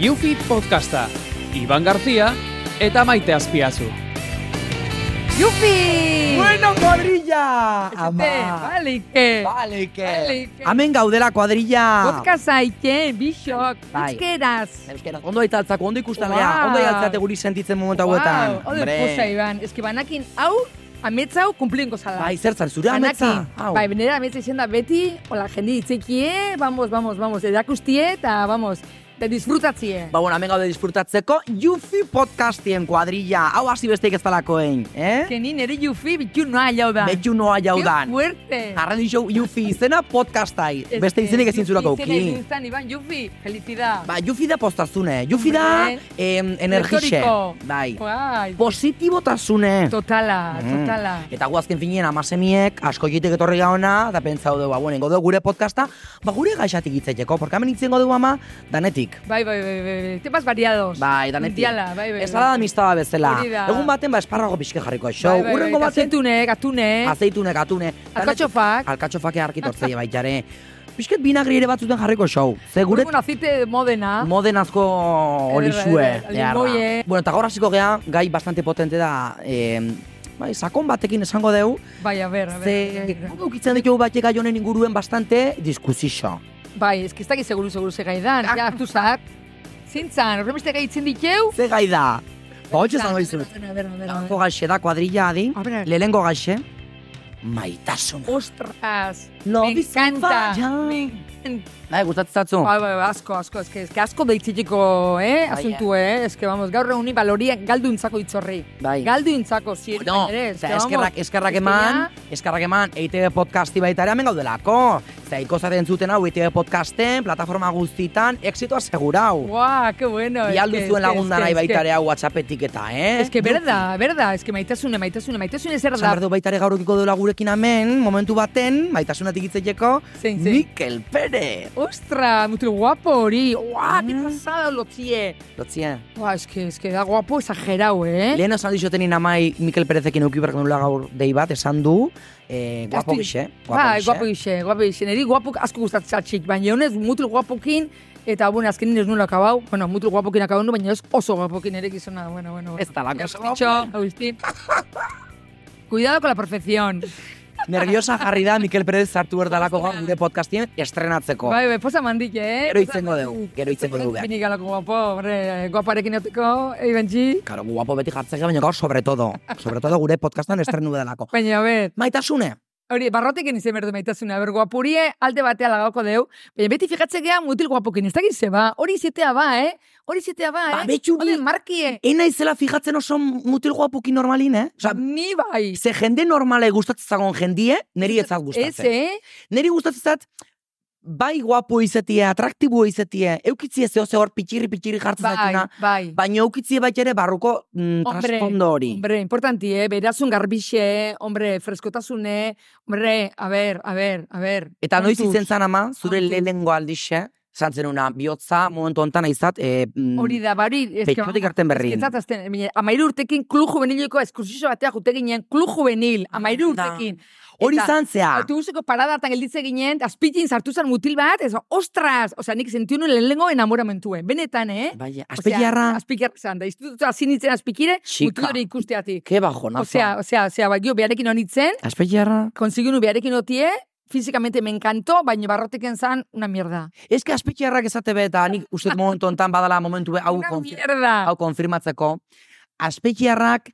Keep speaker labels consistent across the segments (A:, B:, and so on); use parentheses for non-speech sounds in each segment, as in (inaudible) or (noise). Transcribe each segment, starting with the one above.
A: Yufi Podcasta, Iban Garzia eta Maite Azpiazu.
B: Yupi!
C: Bueno, kuadrilla! Ama!
B: Balike!
C: Baleke!
B: Balike!
C: Hemen gaudela kuadrilla!
B: Podcaza ike, bixok,
C: Bai.
B: euskeraz.
C: Euskera, ondo aitaltzako, ondo ikustan lea,
B: Wow.
C: ondo aitaltzate guri sentitzen momentu hauetan.
B: Wow, Hau posa, Iban. Ez que banakin hau, ametz hau, kumplien gozala.
C: Bai, zertzan, zure ametza?
B: Banakin. Bai, benera ametz izan da beti, hola, jende itzekie, vamos, vamos, vamos, edakustie, eta, vamos, de disfrutatzie.
C: Ba, bueno, hemen gaude disfrutatzeko Yufi podcastien kuadrilla. Hau hasi besteik ez talakoen, eh?
B: Que ni nere jufi bitu noa jau da.
C: Betu noa
B: Que
C: jaudan.
B: fuerte.
C: Jarren dizu Yufi izena podcastai.
B: Ez
C: Beste
B: que
C: izenik ezin zurako
B: Yufi izena
C: uki.
B: egin zen, Iban, jufi, felicidad.
C: Ba, Yufi da postazune. Yufi da
B: Hombre.
C: em, energixe.
B: Retoriko.
C: Bai.
B: Guai.
C: Positibotasune.
B: Totala,
C: Mm.
B: totala.
C: Eta gu azken finien amasemiek, asko jitek etorri gaona, eta pentsau dugu, ba, bueno, ingo dugu gure podcasta, ba, gure gaixatik itzeteko, porque hemen itzengo dugu ama, danetik.
B: Bai, bai, bai, bai, bai. Temas variados.
C: Bai, danetik.
B: Mundiala, bai, bai.
C: Ensalada mistaba bezala.
B: Hori da.
C: Egun baten, ba, esparrago pixke jarriko xo. Bai,
B: eta
C: Urrengo baten,
B: Zeitunek, atunek,
C: azeitunek, atune.
B: alkatxofak.
C: Alkatxofak earki tortzei baitare. Pixket binagri ere batzuten jarriko xo. Ze gure
B: Gure... Un aceite de modena.
C: moden asko olixue.
B: Ederra, ederra. Limoie.
C: Bueno, eta gaur hasiko gea, gai bastante potente da, eh, bai, sakon batekin esango dugu,
B: Bai, a ver, a ver. a
C: Ze,
B: ver.
C: guk ukitzen ditugu batek gai honen inguruen bastante diskusixo.
B: Bai, ez que ez dakit seguru, seguru ze gaidan.
C: Ah.
B: Ja, hartu zak. Zintzan, horren beste gaitzen dikeu.
C: Ze gai da? Ba, hotxe
B: A
C: zango
B: ver,
C: izut.
B: A ver, a ver, a
C: Gaurko
B: ver.
C: gaixe da, kuadrilla adi.
B: A ver.
C: Lehenengo gaixe, maitasuna.
B: Ostras,
C: Lo
B: me
C: bizi
B: encanta.
C: baina.
B: Me encanta.
C: Bai, gustatzen zatzu.
B: Bai, bai, bai, asko, asko, ez que, ez que asko deitzitiko, eh,
C: Bai,
B: asuntu, eh, ez que, vamos, gaur reuni baloriak galduntzako itzorri.
C: Bai.
B: Galduntzako, zierik,
C: Bueno,
B: ere,
C: eta
B: vamos,
C: eskerrak, eskerrak
B: ez que
C: eman,
B: ya-
C: eskerrak eman, EITB podcasti baita ere hemen gaudelako. Eta ikozaten zuten hau E EITB podcasten, plataforma guztitan, exitoa segurau.
B: Guau, qué bueno. es
C: Bialdu
B: que- es
C: zuen
B: que-
C: lagunda
B: es que-
C: nahi
B: es que-
C: baita ere hau WhatsAppetik eta, eh?
B: Es que berda, berda, es que maitasune, maitasune, maitasune zer
C: Esan behar
B: da.
C: du baita ere gaur ukiko duela gurekin hemen, momentu baten, maitasunatik itzeteko,
B: Zein, zein.
C: Mikel Pérez.
B: Ostra, mutil guapo hori. Ua, qué
C: Mm.
B: pasada lotzie.
C: Lotzien.
B: Ua, es que, es que da guapo exagerau, eh.
C: Lehen esan dixotenin amai Mikel Perezekin euki berkan duela gaur dei bat, esan du, eh, guapo
B: Estu-
C: gixe.
B: Ba, guapo
C: Guapo ¿eh? gixe.
B: gixe, guapo gixe. Neri guapo asko gustatzen txik, baina honez mutil guapokin, eta, bueno, azkenin ez nula akabau, bueno, mutil guapokin akabau nu, baina ez oso guapokin ere gizona, bueno, bueno. bueno.
C: Ez talako oso
B: Agustin,
C: (laughs)
B: Agustin. Cuidado con la perfección.
C: Nerviosa jarri da Mikel Perez sartu erdalako gaur gure podcastien estrenatzeko.
B: Bai, bai, posa mandik, eh?
C: Gero itzengo dugu, gero itzengo dugu. behar.
B: Bini galako guapo, hombre, guaparekin euteko, eh, eibentzi.
C: Karo, guapo beti jartzeko, baina gaur sobre todo. Sobre todo gure podcastan estrenu delako.
B: Baina, a ber,
C: Maitasune,
B: hori, barrotekin izan behar du maitasuna, ber, guapurie alde batea lagauko deu, baina beti fikatzekea mutil guapokin, ez dakit ze ba, hori izetea ba, eh? Hori izetea ba, eh?
C: Ba, betxu bi-
B: Hori, markie,
C: ena izela fijatzen oso mutil guapuki normalin, eh? Osa,
B: ni bai.
C: ze jende normale gustatzen zagon jendie, neri etzat
B: Ez,
C: gustatzen.
B: eh?
C: Neri gustatzen zait, bai guapo izetie, atraktibo izetie, eukitzie zeo ze hor pitxirri pitxirri jartzen
B: Bai,
C: zaituna,
B: bai.
C: baina eukitzie bait ere barruko mm,
B: Hombre,
C: trasfondo hori.
B: Hombre, importanti, eh? Berazun garbixe, hombre, freskotasune, hombre, a ber, a ber, a ber.
C: Eta noiz
B: kontuz.
C: izen zan ama, zure
B: kontuz.
C: lehengo aldixe, zantzen una, bihotza momentu ontan aizat, e, mm,
B: Hori da, bari...
C: Peitxotik harten berrin.
B: Ezketzatazten, amairu urtekin klub juvenileko eskursizio batea jute ginen, klub juvenil, amairu
C: Da.
B: urtekin.
C: hori
B: bai. Eta
C: zan zea.
B: Autobuseko paradatan gelditze ginen, azpitin sartu zen mutil bat, ez, ostras! Osea, nik sentiu nuen lehenengo enamoramentuen. Benetan, eh?
C: Bai,
B: Osea,
C: azpegiarra,
B: azpikiarra zan, da, institutu hasi nintzen azpikire,
C: Chica.
B: mutil hori ikusteatik.
C: ke ba, bajo,
B: Osea, osea, osea, bai, jo, beharekin honitzen,
C: Azpegiarra.
B: konsigiu nu beharekin otie, físicamente eh? me encantó, baina barroteken zan, una mierda.
C: Ez que azpegiarrak ezate be, eta nik uste dut momentu ontan badala momentu be, hau,
B: una
C: konfi-
B: mierda.
C: hau konfirmatzeko. Azpegiarrak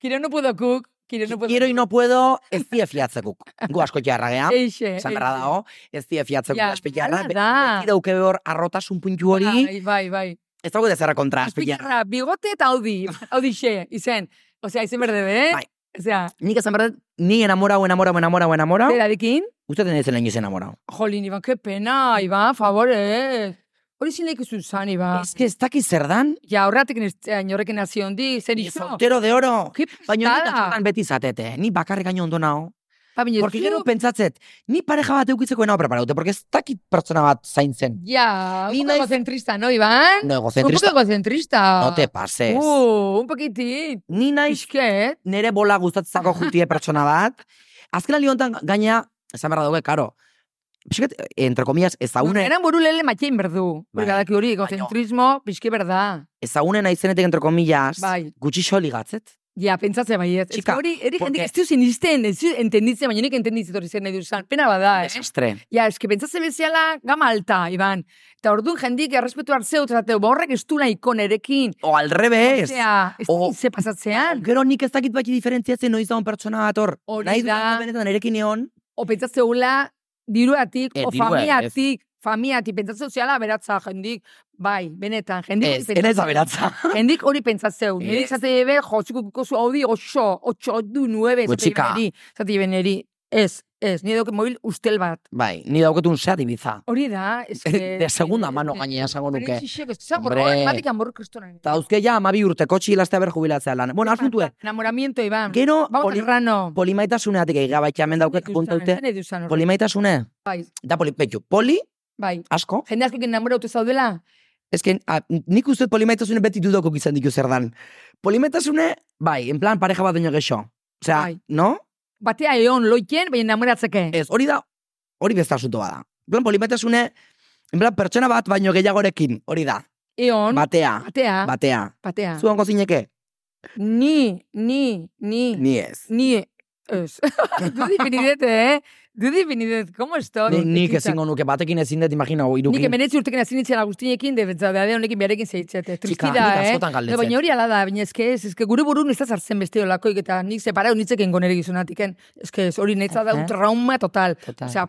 B: Quiero no puedo cook, quiero no puedo
C: Quiero y no puedo, ez die
B: (laughs)
C: fiatzekuk. Gu asko jarra gea,
B: Eixe.
C: esan berra dago, ez die fiatzekuk
B: Ja,
C: azpegiarra.
B: hala
C: Be-
B: da.
C: Beti dauke behor arrotasun puntu hori,
B: Bai, bai, bai.
C: ez dago dezerra kontra azpegiarra.
B: Azpikarra, bigote eta audi, audi xe, izen. Osea, izen berde, eh?
C: Bai.
B: Osea,
C: Nik esan berdet, ni enamorau, enamorau, enamorau, enamorau.
B: berarekin,
C: Uste den ezen leheniz enamorau.
B: jolin, Iban, que pena,
C: Bai.
B: Iban, favorez. Hori zin lehiku zuzan, Iban.
C: Ez que ez dakiz zer dan,
B: Ja, horretik inorrekin hasi hondi, zer
C: ni
B: izo.
C: soltero de oro.
B: Ke
C: Baina nik
B: pastada.
C: atxotan beti zatete, ni bakarrik gaino ondo nao.
B: Ba, baina
C: Porque
B: zu-
C: gero pentsatzet, ni pareja bat eukitzeko enao preparaute, porque ez dakit pertsona bat zaintzen.
B: Ja,
C: Ni
B: un poco
C: naiz-
B: egocentrista, no, Iban?
C: No
B: Un poco
C: egocentrista,
B: egocentrista.
C: no te pases.
B: Uh, un poquitín.
C: Ni naiz
B: Isket. (laughs)
C: nere bola gustatzako jutie pertsona bat. Azken aldi honetan gaina, esan behar dugu, karo, pixket, entre comillas, ezagune,
B: Eran buru lele matxein berdu.
C: Bai.
B: Bai. Badaki hori, egozentrismo, pixki berda.
C: ezagune naizenetik entre comillas,
B: Bai.
C: gutxi xoli gatzet.
B: Ja, pentsatzea bai ez.
C: Txika,
B: Txika, hori, eri
C: porque-
B: jendik ez duz inisten, ez duz entenditzen, baina nik entenditzen hori zer nahi duzan. Pena bada, eh?
C: Desastre.
B: Ja, eske pentsatzen bezala, gama alta, Iban. Eta orduan jendik errespetu hartzeu, eta zateu, ba horrek ez du nahiko nerekin.
C: O al revés.
B: Osea, ez
C: O-
B: oh. ze pasatzean.
C: Gero nik ez dakit baki diferentziatzen noiz daun pertsona bat hor.
B: Hori
C: Nahi
B: da.
C: dudana benetan erekin egon.
B: O pentsatzeula, diruatik,
C: Eh,
B: o
C: dirua,
B: famiatik, famiatik, pentsatzen zehala beratza jendik. Bai, benetan, jendik
C: Ez, ena ez da beratza.
B: Hendik hori pentsatzeu.
C: Ez.
B: Nire izate be, jotzuko kukozu hau di, oso, otxo, du, nueve, zate
C: Gutxika.
B: beneri. Zate beneri. Ez, ez, nire doke mobil ustel bat.
C: (laughs) Bai, ni dauketun seat ibiza.
B: Hori da, ez que...
C: Eh, De segunda mano gainea esango nuke.
B: Peritsixek, ez zago,
C: Hombre.
B: horrek batik amorruk kristoran.
C: Eta dauzke ja, amabi urte kotxi laste ber jubilatzea lan. Bueno,
B: Ba,
C: asuntu
B: Enamoramiento, Iban.
C: eh. Gero,
B: Vamos
C: poli,
B: al rano.
C: polimaitasuneatik egia baita, hemen daukek puntaute. Polimaitasune,
B: Bai,
C: da poli, betxu, poli,
B: bai.
C: asko.
B: Jende askokin enamoratu zaudela.
C: Ezken, a, nik uste dut polimaitasune beti dudokok izan ditu zer dan. Polimaitasune, bai, en plan pareja bat baino gexo. Osea,
B: Bai.
C: no?
B: Batea egon loiken, baina enamoratzeke.
C: Ez, hori da, hori beste asunto bada. En plan, polimaitasune, en plan, pertsona bat baino gehiagorekin, hori da.
B: Eon,
C: Batea,
B: batea,
C: batea.
B: batea.
C: Zuan gozineke?
B: Ni, ni, ni.
C: Ni ez.
B: Ni
C: (laughs)
B: ez. du definidete, eh? Du definidet, como estoy?
C: Ni, nik
B: Txitsa.
C: ezingo nuke, batekin ezin dut, imagina,
B: Nik
C: irukin.
B: emenetzi urtekin hasi nintzen Agustinekin, defentza, beade honekin bearekin zeitzete. Tristi
C: Txika,
B: da,
C: nik
B: eh?
C: askotan
B: No,
C: galdetzen.
B: baina hori ala da, baina eske ez, eske gure burun ez da zartzen beste olakoik, eta nik separau nitzeken gonere gizonatiken. eh? Eske ez, hori netza da
C: Aha.
B: un trauma total.
C: Total.
B: Osea,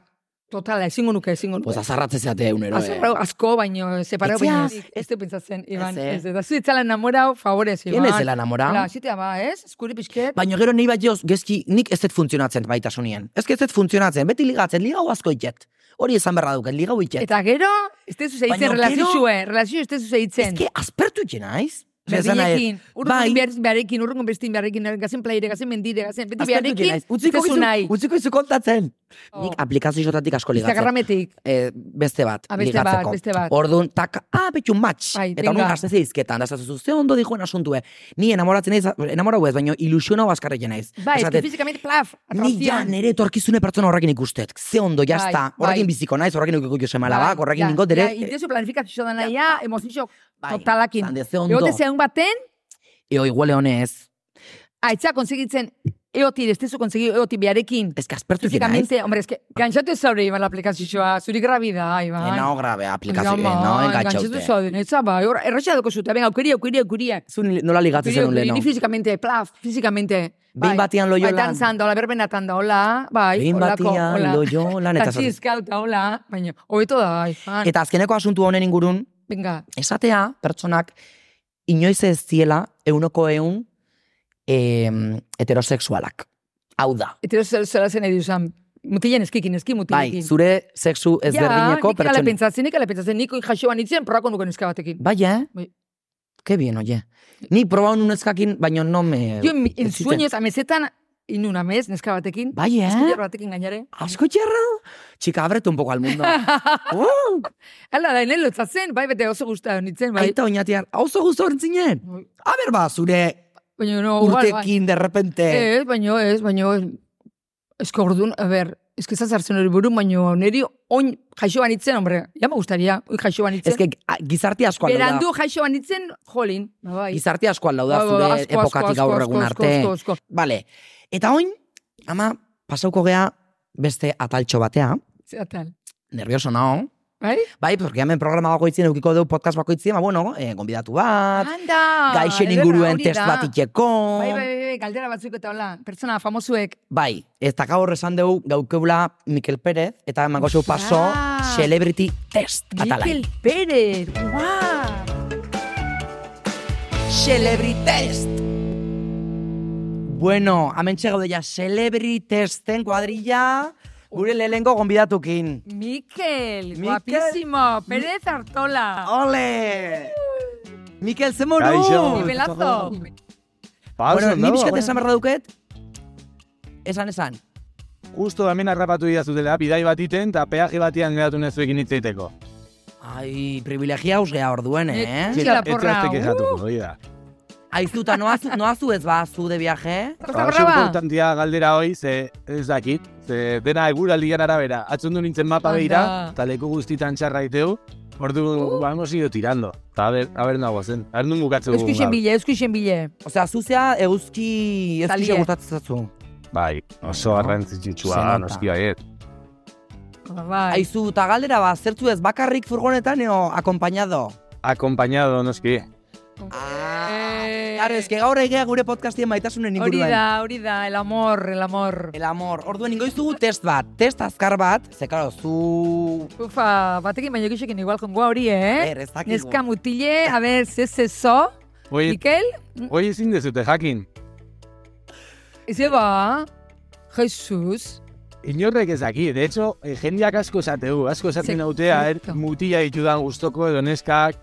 B: totala, ezingo nuke, ezingo nuke.
C: Pues azarratze zeate egunero, eh.
B: Azarrau asko, baino, separau baino,
C: Etxeaz,
B: ez du pentsatzen, Iban.
C: Ez, eh.
B: Ez, da, zu itzala enamorau, favorez, Iban.
C: Ien ez dela enamora?
B: Hala, zitea ba, ez? Eskuri pixket.
C: Baina gero nahi bat joz, gezki nik ez dut funtzionatzen baitasunien. Ez ez dut funtzionatzen, beti ligatzen, ligau asko iket. Hori esan berra duken, ligau iket.
B: Eta gero, ez tezu
C: Baina
B: zeitzen,
C: gero-
B: relazioxue, relazio ez tezu zeitzen.
C: Ezke, azpertu itxe naiz. Osea, esan nahi-
B: Berdinekin,
C: bai.
B: urrun behar, beharekin, urrun bestin beharekin, gazen playere, gazen mendire, gazen, beti
C: azpertu itxe
B: beharekin,
C: naiz. Utziko
B: ez duzu
C: izu,
B: nahi.
C: utziko izu kontatzen.
B: Oh.
C: Nik aplikazio isotatik asko ligatzen.
B: Instagrametik,
C: Eh, beste bat,
B: Ah, beste bat,
C: ligatzeko.
B: beste bat.
C: Orduan, tak, ah, betxu match.
B: Bai,
C: eta
B: venga.
C: honun gazte zeizketan, da esazu, ze ondo dijuen asuntue. Ni enamoratzen naiz, enamorau ez, baino ilusiona baskarretzen naiz.
B: bai, ez
C: Esaten,
B: que fizikamente plaf,
C: Ni ja
B: atracción.
C: nere etorkizune pertsona horrekin ikustet. Ze ondo,
B: Bai,
C: jazta.
B: bai.
C: Horrekin biziko naiz, horrekin ukiko Jose Malabak,
B: Bai,
C: horrekin
B: ja,
C: ningot ere.
B: Ja, intenso planifikazio da nahi, ja, emozizio
C: Bai,
B: totalakin.
C: zan de, ze ondo.
B: Egote zeun baten,
C: Eo, iguale honez.
B: aitza konsegitzen, eoti, ez tezu konsegi, eoti beharekin.
C: Ez que aspertu zira, ez?
B: Fizikamente, hombre, ez que, gantzatu ez zaure, Iban, aplikazioa, zuri grabida, bai. Iban.
C: Enao eh? grabe aplikazio, eh,
B: Ama,
C: enao
B: Gantzatu
C: engatxaute.
B: zaure, ez ba, erretxea doko zute, venga, aukeria, aukeria, aukeria.
C: Zu ni- nola ligatzen
B: Video,
C: zenun
B: ni
C: leno?
B: físicamente, plaf, físicamente. bai.
C: Behin batean loiolan.
B: Bai, dantzan da, hola, berbenatan da, hola, bai,
C: Behin
B: holako,
C: batean
B: hola.
C: loiolan, eta
B: Taxi
C: zaz-
B: eskauta, hola, baina, hobeto da, ai, fan.
C: Eta azkeneko asuntu honen ingurun,
B: Venga,
C: esatea, pertsonak, inoiz ez ziela, eunoko eun, em, heterosexualak. Hau da.
B: etero zer zela zen edu zan, mutilen eskikin, eski
C: Bai,
B: mutilekin.
C: zure sexu ezberdineko
B: Ja, nik ala
C: pertsonak.
B: pentsatzen, nik ala pentsatzen, niko jasoan itzen, probako nuke neska batekin.
C: Bai, eh?
B: Bai.
C: Qué bien, oye. Ni proba un eskakin, baino no me...
B: Jo, en, en
C: ez ziten.
B: sueños, amezetan, inun amez, neska batekin.
C: Bai, eh?
B: Eskiler batekin gainare.
C: Asko txerra. Chica, abrete un poco al
B: (laughs)
C: mundo. uh,
B: Hala da, enen lotzatzen, bai, bete oso guztua nintzen, bai.
C: aita oinatiar, hauzo guztu hortzinen. A ber, ba, zure
B: Baina, no, igual, bai. eh,
C: urtekin de repente.
B: Ez, baino, ez, baino, ez. Eske orduan, a ber, eske zazartzen hori buru, baino, niri oin jaixo banitzen, hombre, ja me gustaría, oin jaixo banitzen.
C: Ez que a- gizarte asko aldau da.
B: Berandu jaixo banitzen, jolin, ba, bai.
C: Gizarte asko aldau da
B: Ba, ba,
C: zure
B: asko, asko,
C: epokatik
B: asko,
C: gaur
B: asko,
C: egun
B: asko,
C: arte.
B: asko, asko.
C: Vale. Eta oin, ama, pasauko gea beste ataltxo batea.
B: Zer tal,
C: Nervioso nao.
B: bai?
C: Bai, porque hemen programa bakoitzien eukiko dugu podcast bakoitzien, ba, bueno, eh, gonbidatu bat,
B: Anda!
C: gaixen
B: ederra,
C: inguruen
B: hori
C: test
B: da.
C: bat itxeko.
B: Bai, bai, bai, bai, galdera batzuk eta hola, pertsona famosuek.
C: Bai, eta gaur esan dugu gaukeula Mikel Pérez, eta emango zeu paso
B: Ostras!
C: Celebrity Test atalai.
B: Mikel Pérez, guau!
C: Celebrity Test! Bueno, amentxe gaude ja, Celebrity Testen kuadrilla, gure lehengo gonbidatukin.
B: Mikel,
C: Mikel-
B: guapísimo, Pérez Artola.
C: Ole! Mikel, ze moru!
D: Kaixo.
B: Nivelazo.
D: Pausa,
C: Bueno,
D: bueno,
C: ni bizkat esan behar duket, esan esan.
D: Justo hemen harrapatu dira zutela, bidai bat iten, eta peaje batean geratu nezuekin hitz egiteko.
C: Ai, privilegia haus geha orduen, eh?
B: Nik- Txila porra,
C: Uh,
D: Ez zehazte kexatuko, hori da.
C: Aizuta, noazu, noazu ez ba, zu de viaje?
B: Costa
D: oso
B: Brava.
D: importantia galdera hoi, ze ez dakit, ze dena eguraldian arabera. Atzundu nintzen mapa
B: Anda.
D: behira, eta leku guztitan txarra iteu, ordu uh. vamos ido tirando. Eta a ber, a ber nago zen, a ber nun bukatze dugun
B: Euskixen
D: gaur.
B: bile, euskixen bile.
C: Osea, zuzea euski, euski
B: Zalie.
C: gustatzen zaizu.
D: Bai, oso
C: No.
D: garrantzitsitsua da,
C: Zenota.
D: noski baiet.
B: Ba, Bai.
C: Aizu, eta galdera ba, zertzu ez bakarrik furgonetan eo akompainado.
D: Acompañado, noski.
B: Eh,
C: Claro, eske gaur egea gure podcastien baitasunen
B: Hori
C: inguruan.
B: da, hori da, el amor, el amor.
C: El amor. Orduan ingoiz dugu test bat, test azkar bat, ze claro, zu
B: Ufa, batekin baino gixekin igual jongoa hori, eh?
C: ber, ez dakigu.
B: Neska mutile, a ber, ze ze zo,
D: Hoi,
B: Mikel?
D: hoi ezin dezute, jakin.
B: Eze ba, Jesus.
D: Inorrek ez daki, de hecho, eh, jendeak asko esateu, asko esaten
B: Ze-
D: nautea, er,
B: Zerto.
D: mutila ditudan gustoko edo neskak,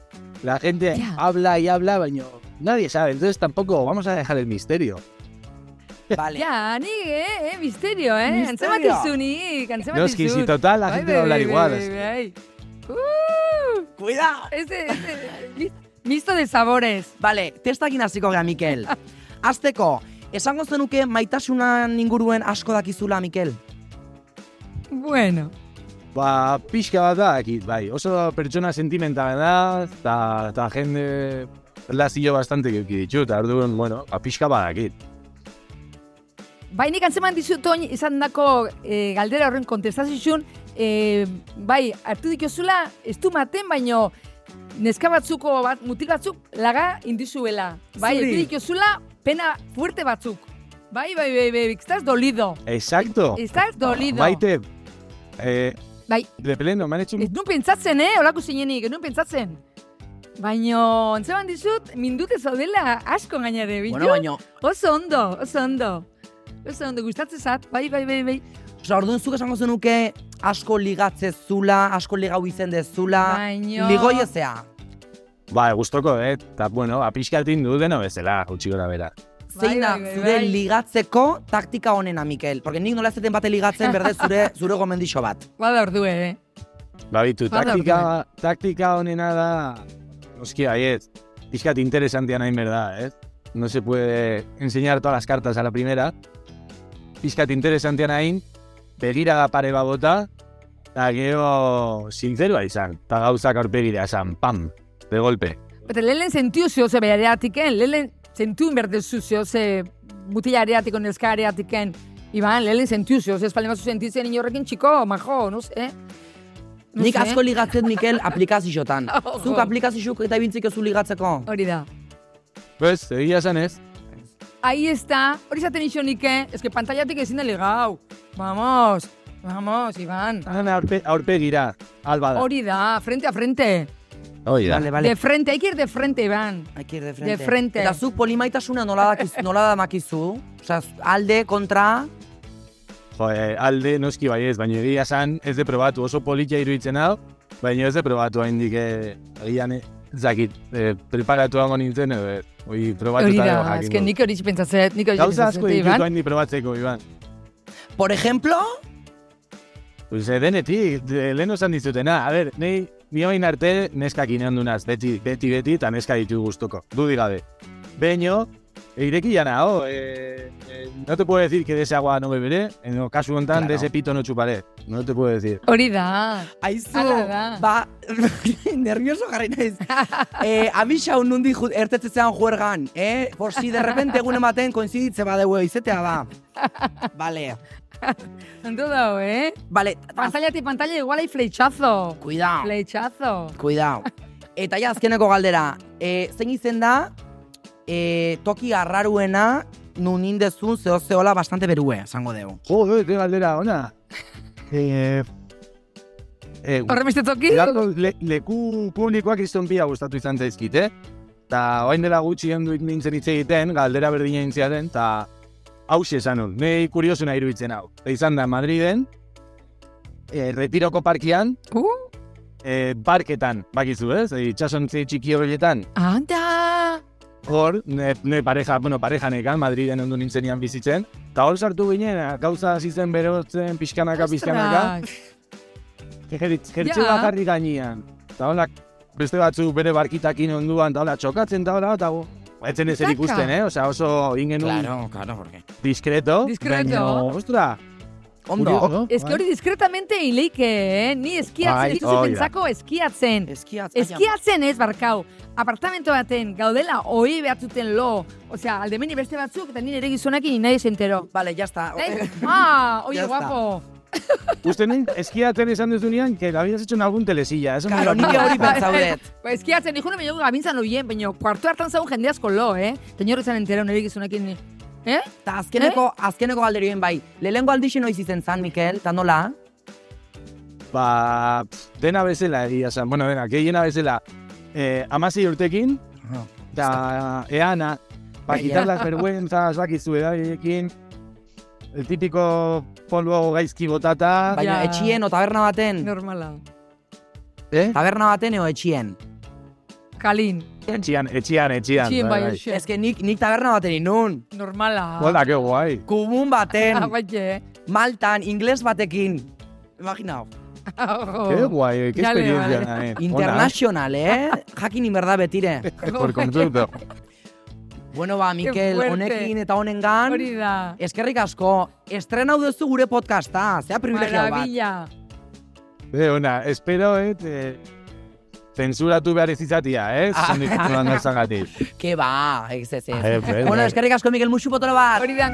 D: la gente
B: Ya.
D: habla y habla, baino nadie sabe, entonces tampoco vamos a dejar el misterio.
C: Vale.
B: Ja, ni, eh, eh, misterio, eh?
C: Misterio.
B: Antzemat izu nik, antzemat izu.
D: Noski, si total, la gente va a hablar igual. es-
B: Uh,
C: Cuidado.
B: ese, ese, mi- misto de sabores.
C: Vale, testakin hasiko
B: (laughs)
C: gara, Mikel. Azteko, esango zenuke maitasunan inguruen asko dakizula, Mikel?
B: Bueno.
D: Ba, pixka bat da, dakit, bai. Oso pertsona sentimentala da, eta, eta jende lazio bastante euki ditu, eta orduan, bueno, ba, pixka bat dakit.
B: Bai, nik antzeman dizut oin izan dako eh, galdera horren kontestazizun, eh, bai, hartu dikiozula, ez du maten, baino, neska batzuko bat, mutil batzuk laga indizuela. Bai,
C: Zuri.
B: hartu dikiozula, pena fuerte batzuk. Bai, bai, bai, bai, estás dolido.
D: Exacto.
B: Estás dolido.
D: Maite, eh,
B: Bai,
D: de pleno, me han hecho un
B: ez nuen pentsatzen, eh, olako zinenik, ez nuen pentsatzen. Baino, antzeman dizut, mindute zaudela asko gainare, bitu?
C: Bueno, baino,
B: Oso ondo, oso ondo. Oso ondo, gustatzen zat, bai, bai, bai, bai.
C: osea, orduan zuk esango zenuke asko ligatzezula, asko ligau izen dezula.
B: Baino-
C: Ligoiezea.
D: Ba, gustoko, eh? Eta, bueno, ba, pixkat indu deno bezala, utxi gora bera.
C: Zein da
B: bai, bai,
C: zure
B: bai.
C: ligatzeko taktika honena, Mikel? Porque nik nola ez zeten bate ligatzen, berde zure,
B: (laughs)
C: zure gomendixo bat.
B: Bada ordu, eh?
D: Ba, bitu,
B: Bada
D: taktika, taktika honena da, noski baiet, pixkat interesantia nahi berda, eh? No se puede enseñar todas las cartas a la primera. Pixkat interesantia nahi, begirada pare babota, eta gero sinzerua izan, eta gauzak aurpegira esan, pam, de golpe.
B: Bete, lehen sentiu zio ze behareatiken, lehen sentiu inberdezu zio ze mutilareatiko neskareatiken. Iban, lehen sentiu zio ze espalden bazu sentitzen inorrekin txiko, majo, no sé. No
C: Nik
B: sé.
C: asko ligatzen, Mikel,
B: (laughs)
C: aplikaziotan.
B: Oh.
C: Zuk aplikazioak eta bintziko zu ligatzeko.
B: Hori da.
D: Pues, egia esan ez,
B: Ahí está, hori zaten iso nike, eske pantailatik ezin da ligau. Vamos, vamos, Iban.
D: han aurpe, aurpegira, alba da.
B: Hori da, frente a frente.
D: Hori
C: Vale, vale.
B: De frente, hay que ir de frente, Iban.
C: Hay que ir de frente.
B: De frente.
C: Eta zuk polimaitasuna nola, dakiz, nola damakizu? Osea, alde, kontra,
D: Jo, eh, alde noski bai ez, baina egia esan ez de probatu, oso politia iruditzen hau, baina ez de probatu haindik eh, agian eh, ez dakit, eh, preparatu hango nintzen, edo eh, ez. Oi, probatu
B: Hori
D: eta
B: da,
D: gero jakingo
B: eske
D: dut.
B: nik hori pentsatzen, nik hori
D: Gauza
B: pentsatzen,
D: asko ditutu
B: Iban.
D: haindik probatzeko, Iban.
C: por ejemplo,
D: Pues eh, denetik, de, lehen osan dizutena, a ber, nahi, ni hain arte neskak inan dunaz, beti, beti, beti, eta neska ditu gustuko, dudik gabe. Beño, ireki jana, oh, eh, eh, no te puedo decir que de ese agua no beberé, en el caso honetan,
C: Claro.
D: de ese pito no chuparé, no te puedo decir.
B: Hori da.
C: aizu,
B: Ala da.
C: ba, (laughs) nervioso jarri (laughs) naiz. eh, amisa un nundi ertetzean juergan, eh? Por si de repente egun ematen koinziditze badeu izetea ba. Vale,
B: Ondo dago, eh?
C: vale, az-
B: Pantalla ti pantalla, igual hay flechazo.
C: cuidao,
B: Flechazo.
C: cuidao. Eta ja, azkeneko galdera, eh, zein izen da, eh, toki arraruena, nun indezun zeo zeola bastante berue, esango deu.
D: Jo, eh, te galdera, ona. Eh, eh,
B: Horre beste toki?
D: Gako le, leku publikoak izton pila gustatu izan zaizkit, eh? Ta orain dela gutxi hendu nintzen hitz egiten, galdera berdina intziaren, ta hause esan hon, nei kuriosuna iruditzen hau. Ta izan da Madriden, eh, retiroko parkian,
B: Uh,
D: eh, barketan, bakizu ez, eh, itxasontzi txiki horietan,
B: anda.
D: hor, ne, ne pareja, bueno, pareja nekan, Madriden ondu nintzenian bizitzen, eta hor sartu ginen, eh, gauza hasi zen berotzen, pixkanaka, pixkanaka,
B: Ostras.
D: Jertz, jertze
B: Ja.
D: bat jarri gainean. Eta hola, beste batzuk bere barkitakin onduan, eta hola, txokatzen, eta hola, eta etzen ezer
B: Taka.
D: ikusten, eh? Osa oso ingen
C: Claro, claro, porque...
D: diskreto.
B: Diskreto.
D: baino, ostra.
C: Ondo,
B: Ez que hori diskretamente ileike, eh? Ni eskiatzen
D: Bai,
B: ditu
D: hoi da.
B: pentsako eskiatzen.
C: eskiatz...
B: Eskiatzen ez barkau, apartamento baten gaudela ohi behatuten lo, osea, aldemeni beste batzuk, eta nire gizonakin nahi esentero.
C: Vale, ya está.
B: Eh?
C: (laughs)
B: Ah, oye,
C: Ya está.
B: guapo.
D: (laughs) Uste nien, eskiatzen esan duzunean, que habías hecho en algún telesilla. Eso me
C: Claro,
D: lo
C: nik hori
D: acuerdo.
C: pentsaudet.
B: (laughs) Ba, eskiatzen, nijuna me jogu gabintzan oien, baina kuartu hartan zaun jende asko lo, eh? Teñor izan entero nire gizonakin. Eh?
C: Eta azkeneko, azkeneko galderioen bai. Lehengo aldixi noiz izen zan, Mikel, eta nola?
D: Ba, pff, dena bezala egia esan. Bueno, dena, gehiena bezala. Eh, amasi urtekin, eta eana, eh, pa
C: Baina.
D: quitar las vergüenzas, bakizu edarekin, el típico polvo gaizki botata,
C: Baina
B: Ja.
C: etxien o taberna
D: Mm.
C: baten?
B: Normala.
D: eh?
C: Taberna baten eo etxien?
B: Kalin.
D: Etxian, etxian, etxian.
B: Txien bai,
C: Ez
B: hoxe.
C: que nik, nik taberna baten inun.
B: Normala.
D: Hola, qué guay.
C: Kubun baten,
B: (laughs) Ah, Baina, eh?
C: Maltan, ingles batekin. Imaginau.
B: Ojo.
D: Qué guay, qué
B: Oh. Ya le
D: experiencia.
B: vale.
D: eh. Ona,
B: (laughs)
C: International, eh? Jakin inberda betire.
D: eh, Por completo.
C: Bueno, ba, Mikel,
B: fuerte.
C: honekin eta honengan.
B: Hori da.
C: Eskerrik asko, estrenau duzu gure podcasta, zea privilegiau bat.
B: Maravilla.
D: Eh, ona, espero, eh, te... Zensuratu behar ez izatia, eh? Zan ditudan garzagatik.
C: Ke ba, ez ez ez.
D: Eh, eh,
C: Bueno,
D: eh.
C: eskerrik asko, Mikel, musu potolo bat.
B: Hori da.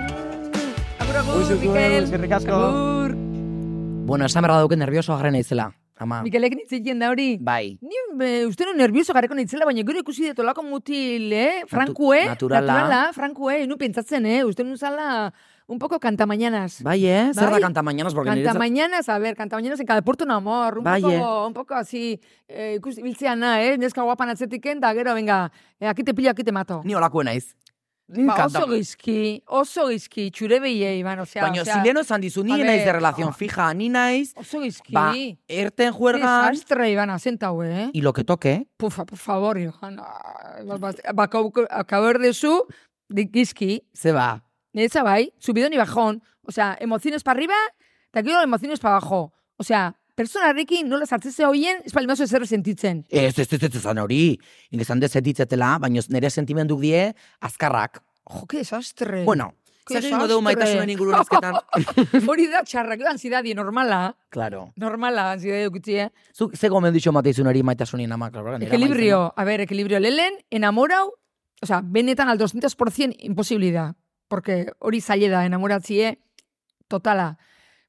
B: Agur, agur,
D: Musu,
B: Mikel.
D: eskerrik asko.
B: Agur.
C: Bueno, esan berra dauken nervioso garen naizela,
D: Ah.
C: ama.
B: Mikelek nintzitzen da hori.
C: Bai.
B: Ni e, uste nuen nervioso gareko nintzela, baina gero ikusi dut olako mutil, eh? Frankue,
C: naturala.
B: frankue, nu pentsatzen, eh? Uste nuen zala un poco cantamañanas.
C: Bai, eh? Zer da
B: Bai.
C: kantamañanas, porque nire...
B: Cantamañanas, a ver, cantamañanas en cada puerto un amor, un
C: Bai,
B: poco, un poco así, eh, ikusi biltzeana, eh? Neska guapan atzetiken, da gero, venga, eh, aquí te pillo, aquí te mato.
C: Ni olakue naiz. Ni
B: Ba,
C: kanta-
B: oso gizki, oso gizki, txure behiei, man, osea,
C: Baina,
B: osea,
C: sileno esan dizu, ni
B: a
C: naiz de
B: ver,
C: relación
B: no.
C: fija, ni naiz,
B: oso gizki.
C: ba, erten juergan,
B: Desastre, Ivana, senta, hue, eh?
C: y lo que toque,
B: Pufa, por favor, Ah, Johanna. ba, Acabar de su, de Kiski.
C: se va.
B: Esa bai, subido ni bajón. O sea, emociones para arriba, te quiero emociones para abajo. O sea, persona Ricky no las hartzese hoien, espalmazo zer sentitzen.
C: Ez, ez, ez, ez, esan hori. Nik esan dezet ditzetela, baina nire sentimenduk die, azkarrak.
B: Jo, qué desastre.
C: Bueno,
B: Qué
C: zer egingo dugu
B: desastre.
C: maitasunen ingurun azketan.
B: (laughs) Hori da txarra, gero ansiedadi, normala.
C: claro.
B: Normala, ansiedadi okutzi, eh?
C: Zuk ze gomendu iso matizun hori maitasunin ama, claro. nire
B: Equilibrio, a ver, equilibrio. Lelen, enamorau, o sea, benetan al 200% imposibilidad. Porque hori zaila da, enamoratzie, totala.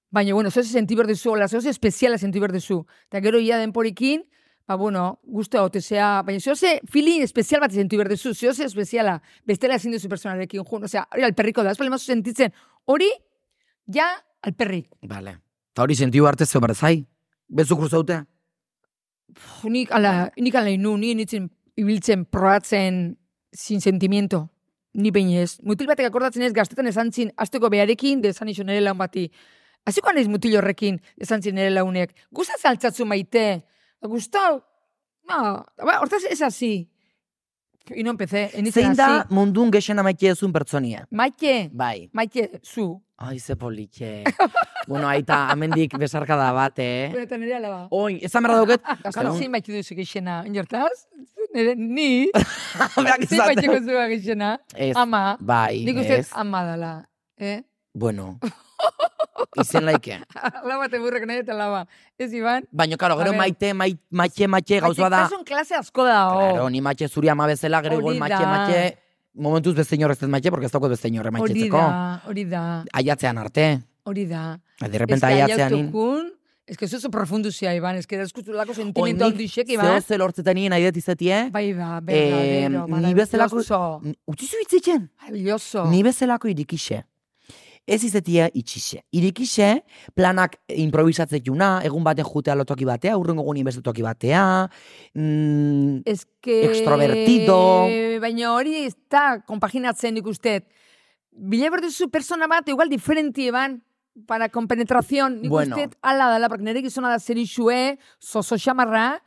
B: Baina, bueno, zoze senti behar duzu, hola, zoze espeziala senti behar duzu. Eta gero ia denporikin, ba, bueno, guztua otezea, baina zoze feeling espezial bat senti behar duzu, zoze espeziala, bestela ezin duzu personarekin jun, osea, hori alperriko da, ez bale mazu sentitzen, hori, ja, alperrik.
C: amaitzen. Vale. Ta hori sentiu arte zo berzai. Bezu kruzaute.
B: Pff, Nik, ala, nik ala inu, ni nintzen ibiltzen, proatzen, sin sentimiento. Ni behin ez. Mutil batek akordatzen ez, gaztetan esan zin, azteko beharekin, de esan iso nere laun bati. Aziko naiz mutil horrekin, esan zin nere launek. Gusta zaltzatzu maite. Gustau. No, ba, hortaz ez hasi. Y no empecé, en
C: Zein
B: nintzen
C: da
B: hasi.
C: mundun gexen amaite ezun pertsonia?
B: Maite,
C: Bai.
B: maite, zu.
C: Ai, ze
B: (laughs)
C: politxe. bueno, aita, amendik besarka da bat, eh?
B: Benetan nere alaba.
C: Oin, ezan berra
B: (laughs)
C: dauket.
B: Gaztan Oh, ah, zein maite duzu gixena, inortaz? Nere,
C: (laughs)
B: ni,
C: (laughs)
B: zein
C: Berak esaten.
B: maite duzu gixena?
C: Ez,
B: Ama.
C: bai,
B: Nik uste
C: ez.
B: ama dala. Eh? (laughs)
C: Bueno. Izen laike.
B: laba te burrek nahi eta laba. Ez, Iban?
C: Baina, karo,
B: A
C: gero
B: ver.
C: maite, maite, maite, maite, gauzua da.
B: Maitetasun klase asko da, oh.
C: Claro, ni maite zuri ama bezala, gero
B: Hori
C: igual maite,
B: da.
C: maite. Momentuz beste inorrez ez maite, porque ez dago beste inorre
B: hori
C: maitetzeko.
B: da, hori da,
C: Aiatzean arte.
B: hori da.
C: De
B: Ez
C: repente
B: que
C: aiatzean in.
B: aiautukun, ez que zozo profundu zia, Iban, ez que dauzkutulako sentimento
C: Oinik
B: handixek,
C: Zeo
B: Iban.
C: zer lortzetan nien nahi dut izatie.
B: ba. Bai, ba,
C: Eh,
B: berdadero,
C: ni bezalako-
B: maravilloso,
C: N- Utzi zu itzitzen.
B: maravilloso.
C: Ni bezalako irikixe. Ez izatia itxixe. Irikixe, planak improvisatzekuna, egun baten jutea lotoki batea, urrengo guni beste toki batea. Mm,
B: Ez que...
C: Extrovertido.
B: Baina hori ez da kompaginatzen ikustet. Bila berduzu persona bat, igual diferenti eban, para compenetración, nik
C: Bueno.
B: bueno. uste ala dela, porque nire gizona da zer isue, zozo xamarra,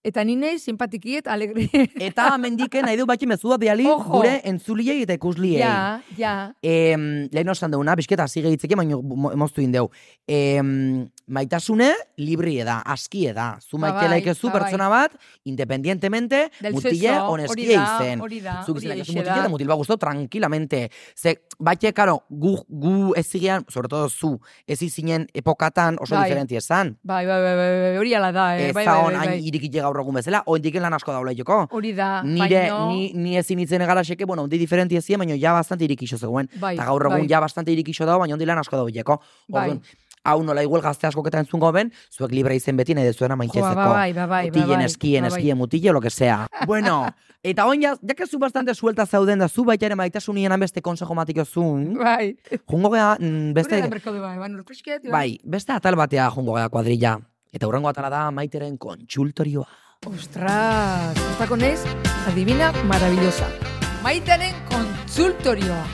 B: Eta ni naiz simpatikiet, alegre.
C: Eta mendiken nahi du baki mezua biali
B: Ojo.
C: gure entzuliei eta ikusliei.
B: (laughs) ja, ja.
C: Em, lehen osan deuna, bisketa hasi gehitzeke, baina moztu indeu. Em, maitasune, libri eda, aski eda. Zu
B: Ba
C: maite
B: bai,
C: laikezu
B: ba bai.
C: pertsona bat, independientemente,
B: Del
C: mutile
B: sexo,
C: honestie izen.
B: Hori da,
C: Zuk
B: hori
C: izan
B: horixe
C: mutil
B: da.
C: eta mutil bat guztu, tranquilamente. Ze, baite, karo, gu, gu ez zigean, sobre todo zu, ez izinen epokatan oso
B: Bai.
C: diferenti esan.
B: Bai, bai, bai, bai, bai, hori ala da, eh?
C: Ez
B: bai,
C: da
B: bai,
C: hon,
B: bai,
C: hain
B: bai.
C: irikile gaur egun bezala, oindiken lan asko daula joko.
B: Hori da,
C: Nire,
B: baino-
C: ni, ni ezin itzen egala seke, bueno, ondi diferenti ezien, baina ja bastante irikixo zegoen.
B: bai,
C: Eta gaur egun
B: bai,
C: ja bastante irikixo dago, baina ondilan asko dago bileko.
B: bai.
C: Orduan, hau nola igual gazte askok eta entzun goben, zuek libre izen beti nahi dezuena
B: Jo, ba,
C: maitezeko.
B: bai, ba, bai, ba,
C: Mutilen,
B: bai,
C: eskien,
B: ba, bai.
C: eskien, mutile, lo
B: (laughs)
C: que sea. Bueno, eta oin, ja, ja que zu bastante suelta zauden da, zu baita ere maitasunien beste konsejo matiko zun.
B: Bai.
C: Jungo gea,
B: Beste...
C: mm, beste,
B: Hori da merkatu, bai, bai, norpresket,
C: bai, beste atal batea jungo gea kuadrilla. Eta hurrengo atala da maiteren kontsultorioa.
B: Ostras, kontako nez, adivina maravillosa. Maitaren kontsultorioa.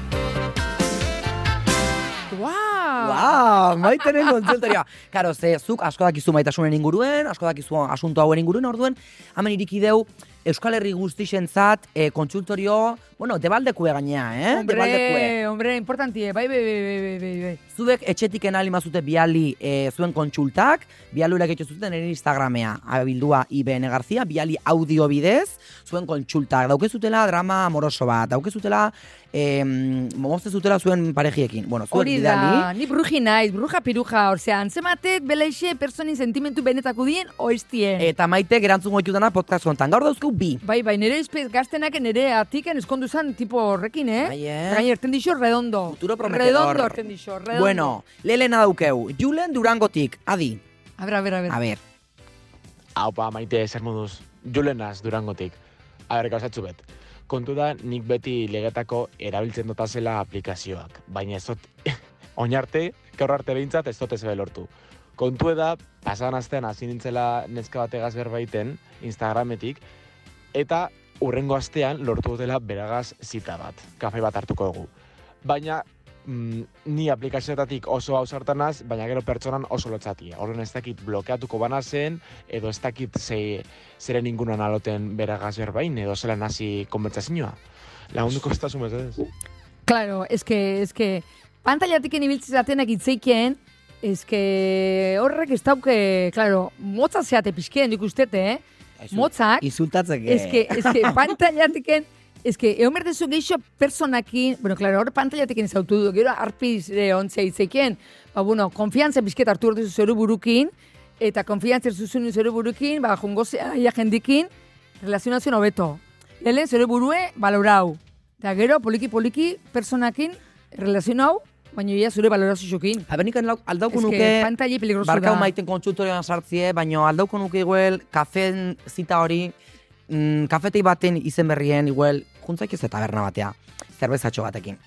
B: Wow.
C: Ba, maiteren kontsultorioa. Karo, ze, zuk asko dakizu maitasunen inguruen, asko dakizu asunto hauen inguruen, orduen, hemen iriki deu, Euskal Herri guztixentzat eh, kontsultorio, bueno, debaldekue gainea, eh? Debaldekue.
B: Hombre, hombre, importantie, bai, bai, bai, bai, bai, bai, bai.
C: Zuek etxetik enali mazute biali eh, zuen kontsultak, biali ulak zuten ere Instagramea, abildua IBN Garzia, biali audio bidez, zuen kontsultak, daukezutela drama amoroso bat, daukezutela, eh, zutela zuen parejiekin. Bueno, zuek
B: Hori da,
C: bidali,
B: ni bruji naiz, bruja piruja, orzea, antzematet, beleixe, personin sentimentu benetako dien, oiztien.
C: eta maite gerantzun goitu dana podcast kontan. Gaur dauzkau bi.
B: Bai, bai, nire izpez gaztenak nire atiken eskondu zan tipo horrekin, eh? bai.
C: Bai, eh?
B: Gaina erten dixo redondo.
C: Futuro prometedor.
B: redondo erten dixo, redondo.
C: Bueno, lehelena daukeu, Julen Durangotik, adi,
B: A ver, a ver, a ver.
C: a ber,
E: Haupa, maite, zer moduz, julenaz durangotik. Aber, gauzatzu bet. Kontu da, nik beti legetako erabiltzen dotazela aplikazioak. Baina ez dut, (laughs) oinarte, gaur arte behintzat ez dut ez belortu. Kontu da, pasan astean hasi nintzela neska bategaz berbaiten, Instagrametik, eta urrengo astean lortu dela beragaz zita bat, kafe bat hartuko dugu. Baina, mm, ni aplikazioetatik oso hausartanaz, baina gero pertsonan oso lotzatia. Horren ez dakit blokeatuko banazen, edo ez dakit ze, zeren inguruan aloten beragaz berbain, edo zelan hasi konbertsazioa. Lagunduko ez tazu mesedez.
B: Claro, es que, es que, pantailatik ibiltzizatenak itzeikien, es que horrek ez dauke, claro, motza zeate pixkeen nik ustete, eh? Motzak,
C: izultatzeke.
B: es que, es que
C: (laughs)
B: pantailatiken, es que, egon berdezu geixo personakin, bueno, claro, hor pantailatiken zautu du, gero arpiz eh, ontzea itzeikien, ba, bueno, konfiantza pixket hartu hor duzu zeru burukin, eta konfiantza zuzun zeru burukin, ba, jongo aia jendikin, relazionazioan hobeto. Lehen zure burue, balorau. Eta gero, poliki-poliki, personakin, relazionau, baina ia zure balorazioekin.
C: Abenikan aldauko
B: Ez
C: nuke,
B: que pantaili peligroso
C: barkau
B: da.
C: maiten kontsultorioan sartzie, baino aldauko nuke iguel, kafen zita hori, mm, kafetei baten izen berrien iguel, juntzaik ez taberna batea, zerbezatxo batekin.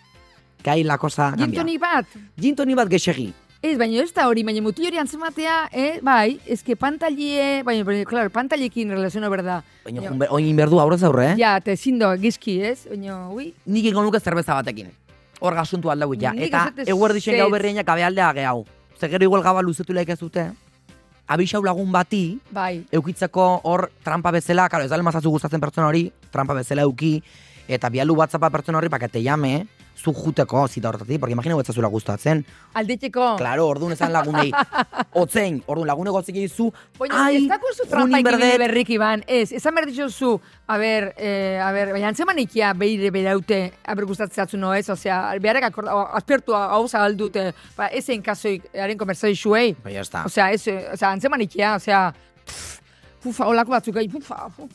C: Gai la cosa cambia.
B: Gintonik bat,
C: Gintoni bat gexegi.
B: ez, baina ez da hori, baina mutil hori antzematea, eh, bai, ez que pantailie, baina, baina, claro, pantailekin relazioa berda.
C: Baina,
B: Ja.
C: jun be- oin berdu aurrez aurre, eh?
B: Ja, eta ezin da, gizki, ez? Baina, ui,
C: Nik ingo nuke zerbeza batekin. Hor gasuntu aldau ja.
B: Nik
C: Eta
B: esate
C: eguerdixen gau
B: zez.
C: berrienak abealdea gehau. Ze gero igual gaba luzetu lehik ez dute. Abixau lagun bati,
B: bai,
C: eukitzako hor trampa bezala, karo, ez da mazazu gustatzen pertsona hori, trampa bezala euki, eta bialu WhatsAppa pertsona horri pakete jame, zu juteko zita hortatik, porque imagina ez zazula gustatzen.
B: aldetxeko.
C: Claro, orduan esan
B: (laughs)
C: lagunei. Otzein, orduan laguneko gozik dizu,
B: Baina,
C: ai,
B: ez dako zu
C: Junin
B: trampa
C: Berdet.
B: ikibide berrik, Iban. Ez, esan behar dituzu, a ber, eh, a ber, baina antzeman ikia behire beraute, a ber, gustatzeatzu no ez, osea, beharek akorda, o- aspertu hau zabaldute, ba, ezen kasoik, haren konversai zuei,
C: Ba, ya está.
B: osea, ez, eh, osea, antzeman ikia, osea, pff, pufa, olako batzuk, ai, pufa, pufa,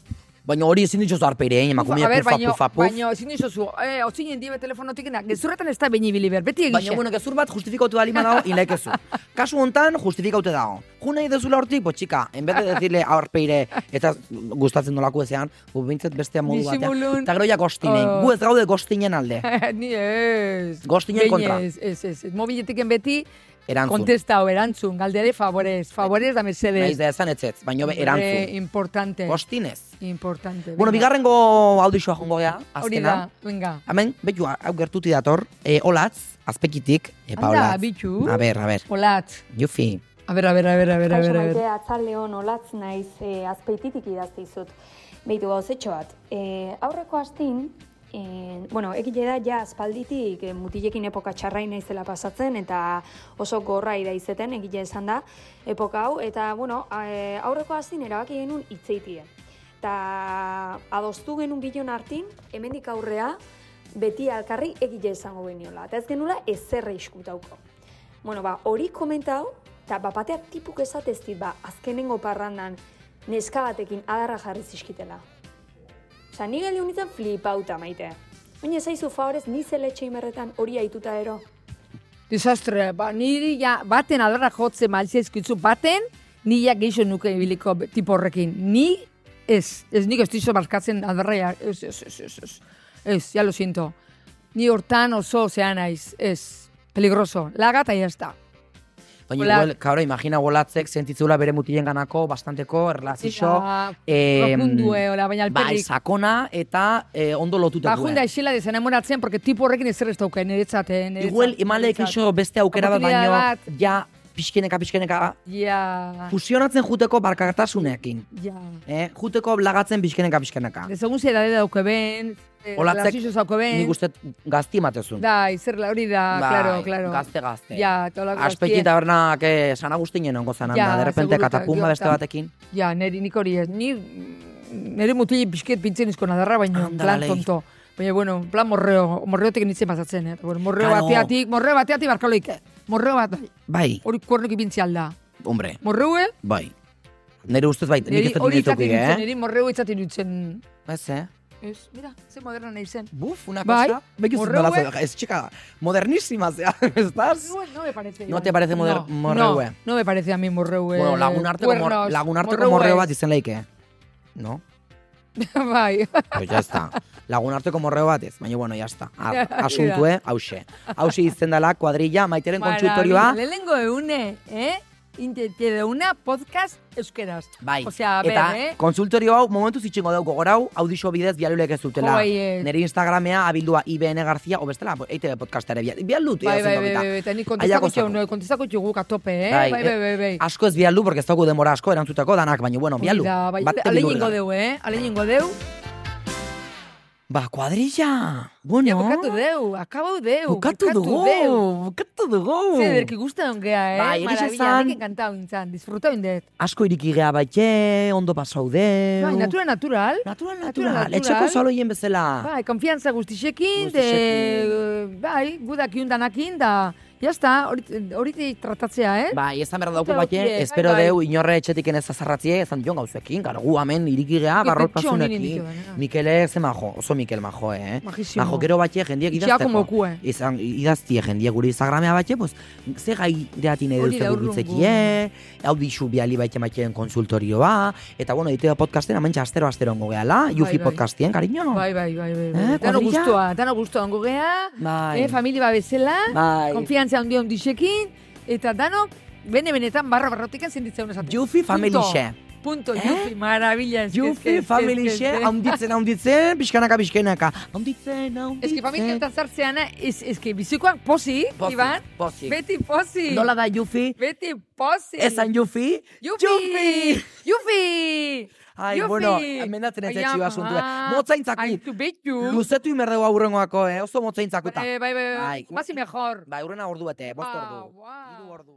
C: Baina hori ezin eh, ditxo zarperein, emakumea
B: a ber,
C: pufa,
B: baino,
C: pufa, puf.
B: baino, ezin dizuzu, eh, otzinen dibe telefonotik, na, gezurretan ez da bini biliber, beti egixe.
C: Baina, bueno, gezur bat justifikautu da lima
B: (laughs)
C: dago, inlaikezu. Kasu hontan, justifikaute dago. Ju nahi dezula hortik, pues, txika, en vez de decirle aurpeire, eta gustatzen nolako ezean, gu bintzat bestea modu batean.
B: Disimulun.
C: Eta gero ja gostinen,
B: Oh.
C: gu ez gaude gostinen alde.
B: (laughs) Ni ez.
C: Gostinen
B: Behin
C: kontra.
B: Ez, ez, ez. ez. Mobileteken beti
C: Erantzun.
B: Contesta o erantzun, galdere favorez, favorez da
C: Naiz
B: mesedez.
C: da esan etzetz, baino be,
B: Hombre,
C: erantzun.
B: importante,
C: Gostinez.
B: importante.
C: Bueno,
B: venga.
C: bigarrengo audioa jongo gea,
B: Hori
C: azkena.
B: da, venga.
C: Hemen, betu, hau gertuti dator, e, olatz, azpekitik, e,
B: Anda,
C: paulatz.
B: bitu.
C: A ber, a ber,
B: Olatz.
C: Jufi,
B: A ber, a ber, a ber, a ber, a
F: Kaixo
B: ber, a
F: maite,
B: ber.
F: atzaleon olatz naiz e, azpeititik idaztizut. Beitu gauzetxo bat, e, aurreko astin, e, bueno, egile da ja aspalditik e, mutilekin epoka txarrai naizela pasatzen eta oso gorra idaizeten egile esan da epoka hau eta bueno, a- e, aurreko astin erabaki genuen itzeitie. Eta adostu genuen gilon hartin, hemendik aurrea, beti alkarri egile esango geniola. Eta ez genula ezerre iskutauko. Bueno, ba, hori komentau, eta bapatea tipuk esatezti, ba, azkenengo parrandan neska batekin adarra jarri zizkitela. Osa, ni geldi honetan flipauta maite. Baina zaizu favorez, ni zeletxe imerretan hori aituta ero.
B: Desastre, ba, niri ja, baten adarra jotze maltzeizkitzu, baten, ni ja geixo nuke ibiliko be- tipo horrekin. Ni ez, ez nik ez dizo markatzen adarra, ja, ez, ez, ez, ez, ez, ez, ya lo siento. Ni hortan oso zean naiz, ez, peligroso, laga eta ya está.
C: Baina,
B: Hola.
C: igual, claro, imagina bolatzek sentitzula bere mutilen ganako bastanteko erlazixo.
B: Eta
C: Eh,
B: profundue, hola, baina
C: Bai,
B: alperrik.
C: sakona eta eh, ondo lotuta
B: Ba, junda isela desenamoratzen, porque tipo horrekin ez ez dauka, niretzat, eh, niretzat.
C: Igual, emalek
B: niretzat.
C: iso beste aukera bat,
B: Oportunidade
C: baino,
B: bat.
C: ja, pixkeneka, pixkeneka,
B: Ja,
C: fusionatzen juteko barkartasunekin.
B: ja.
C: Eh? Juteko blagatzen pixkeneka, pixkeneka.
B: De segun zera de dauke ben,
C: Olatzek
B: lazixo zauke ben.
C: Nik uste gazti ematezun.
B: Da, izer hori da,
C: Bai,
B: claro, claro.
C: Gazte, gazte.
B: Ja, eta hola
C: Azpeiti tabernak eh, San Agustinen ongo zanan
B: Ja,
C: da, de
B: seguru
C: repente
B: eta
C: katapumba
B: gero
C: beste
B: eta-
C: batekin.
B: Ja, neri nik hori ez. Ni, nere mutili pixket pintzen izko nadarra, baina en
C: Anda,
B: plan
C: lei.
B: tonto. Baina, bueno, en plan morreo, morreotik nintzen pasatzen, eh? Bueno, morreo
C: Claro.
B: bateatik, morreo bateatik barkaloik. Morreo bat,
C: Bai,
B: hori kuernik ipintzi alda.
C: hombre,
B: Morreue,
C: bai. Nere ustez bai, nik
B: eh? neri
C: ez dut
B: hori itzat
C: dinetuki,
B: irutzen,
C: eh?
B: neri morreo itzat irutzen.
C: Ez, eh?
B: Ez, mira, ze moderna nahi zen.
C: Buf, una
B: Bai,
C: cosa. Bai,
B: morreue.
C: es chica modernísima,
B: (laughs)
C: o sea, estás.
B: No, no me parece.
C: No
B: Iván.
C: te parece moder-
B: No,
C: morreue.
B: No, no me parece a mí morreue.
C: Bueno, lagun arteko mor,
B: Cuernos,
C: lagun arteko
B: morreue.
C: morreo bat izen leike. No?
B: (laughs) bai.
C: Pues ya está. Lagun arteko morreo bat ez, baina bueno, ya está.
B: (laughs)
C: eh? Ar- Asuntue, hause. Hause izen dela, kuadrilla, maiteren kontsultorioa.
B: Lehenengo eune, eh? Intete deuna podcast euskeraz.
C: Bai,
B: Osea, a
C: eta
B: ber, eh?
C: konsultorio hau momentu zitxingo dauko gorau, audixo bidez bialulek ez dutela.
B: Jo, bai, eh.
C: Nere Instagramea abildua IBN Garzia, o bestela, bo- E EITB podcastare bial, bialut.
B: Bai,
C: idazten
B: bai, bai,
C: dauketa.
B: bai, eta ni
C: Aia
B: kontestako
C: gozatu.
B: txegu, kontestako txegu katope, eh?
C: Bai,
B: Bai, bai,
C: eh,
B: bai, bai.
C: Asko ez bialu, porque ez dauku denbora asko erantzutako danak, baina bueno, bialu.
B: Da, bai,
C: bat
B: ale
C: bilurra.
B: ingo deu, eh? Ale ingo deu.
C: Ba, kuadrilla. Bueno.
B: Ja, bukatu deu, akabau deu.
C: Bukatu dugu,
B: deu.
C: bukatu dugu.
B: Ze, derki guzta ongea, eh?
C: Bai, egia
B: Maravilla,
C: esan.
B: nik encantau intzan, disfruta indet.
C: Asko iriki geha baite, ondo pasaude.
B: Bai, natura natural. natural,
C: natural, natural.
B: natural.
C: Etxeko zaloien bezala.
B: Bai, konfianza guztixekin, de,
C: Ah. Guztixekin.
B: bai, gudak iundanakin, da, jazta, hori hori tratatzea, eh?
C: Bai, ezan berra dauku
B: Eta
C: bate,
B: okie, bai,
C: espero
B: bai.
C: deu inorre etxetik enez azarratzie, ezan dion gauzekin, gargu hemen
B: Ke
C: irikigea,
B: pentsionin
C: barrolpasunekin.
B: inditu, eh?
C: Mikele, ze majo, oso Mikel majo, eh?
B: Majísimo.
C: Majo, gero bate, jendiek
B: Itxea
C: idazteko.
B: como kue.
C: Izan, idaztie jendie gure Instagramea bate, pues, ze gai deatin edo
B: Hori eh.
C: ze
B: da,
C: burutzekie,
B: urrungo.
C: hau dixu biali baite maiten konsultorioa, eta bueno, iteo podcasten, amentsa astero astero ongo gehala, Yufi
B: bai.
C: podcastien, cariño.
B: Bai, bai, bai, bai.
C: Eh,
B: bai. dano
C: kuadrilla?
B: guztua, dano guztua ongo gea,
C: Bai.
B: eh, familia bezala,
C: Bai.
B: konfiantza handi ondixekin, eta danok, bene-benetan barra barrotikan senditzeun esaten.
C: Yufi family share.
B: Punto, Yufi, maravilla. eske, eske,
C: Jufi,
B: eske,
C: family
B: eske,
C: share,
B: eske.
C: haunditzen, haunditzen, pixkanaka, pixkanaka. Haunditzen, haunditzen.
B: Eske familia eta zartzean, ez, eske bizikoak posi,
C: Pozik,
B: Iban,
C: pozik.
B: beti posi.
C: Nola da Jufi?
B: Beti posi.
C: Esan Jufi?
B: Yufi! Yufi!
C: Ai,
B: Yufi!
C: bueno, amendatzen ez
B: Ai,
C: etxio
B: ama.
C: asuntua. Motzaintzako.
B: Aizu betxu.
C: Luzetu imerdeu aurrengoako, eh? oso motzaintzakuta.
B: Eh, Bai, bai, bai.
C: Bai.
B: Más y mejor.
C: Bai, urrena ordu bete, bost
B: Ah,
C: ordu.
B: guau.
C: Hiru ordu.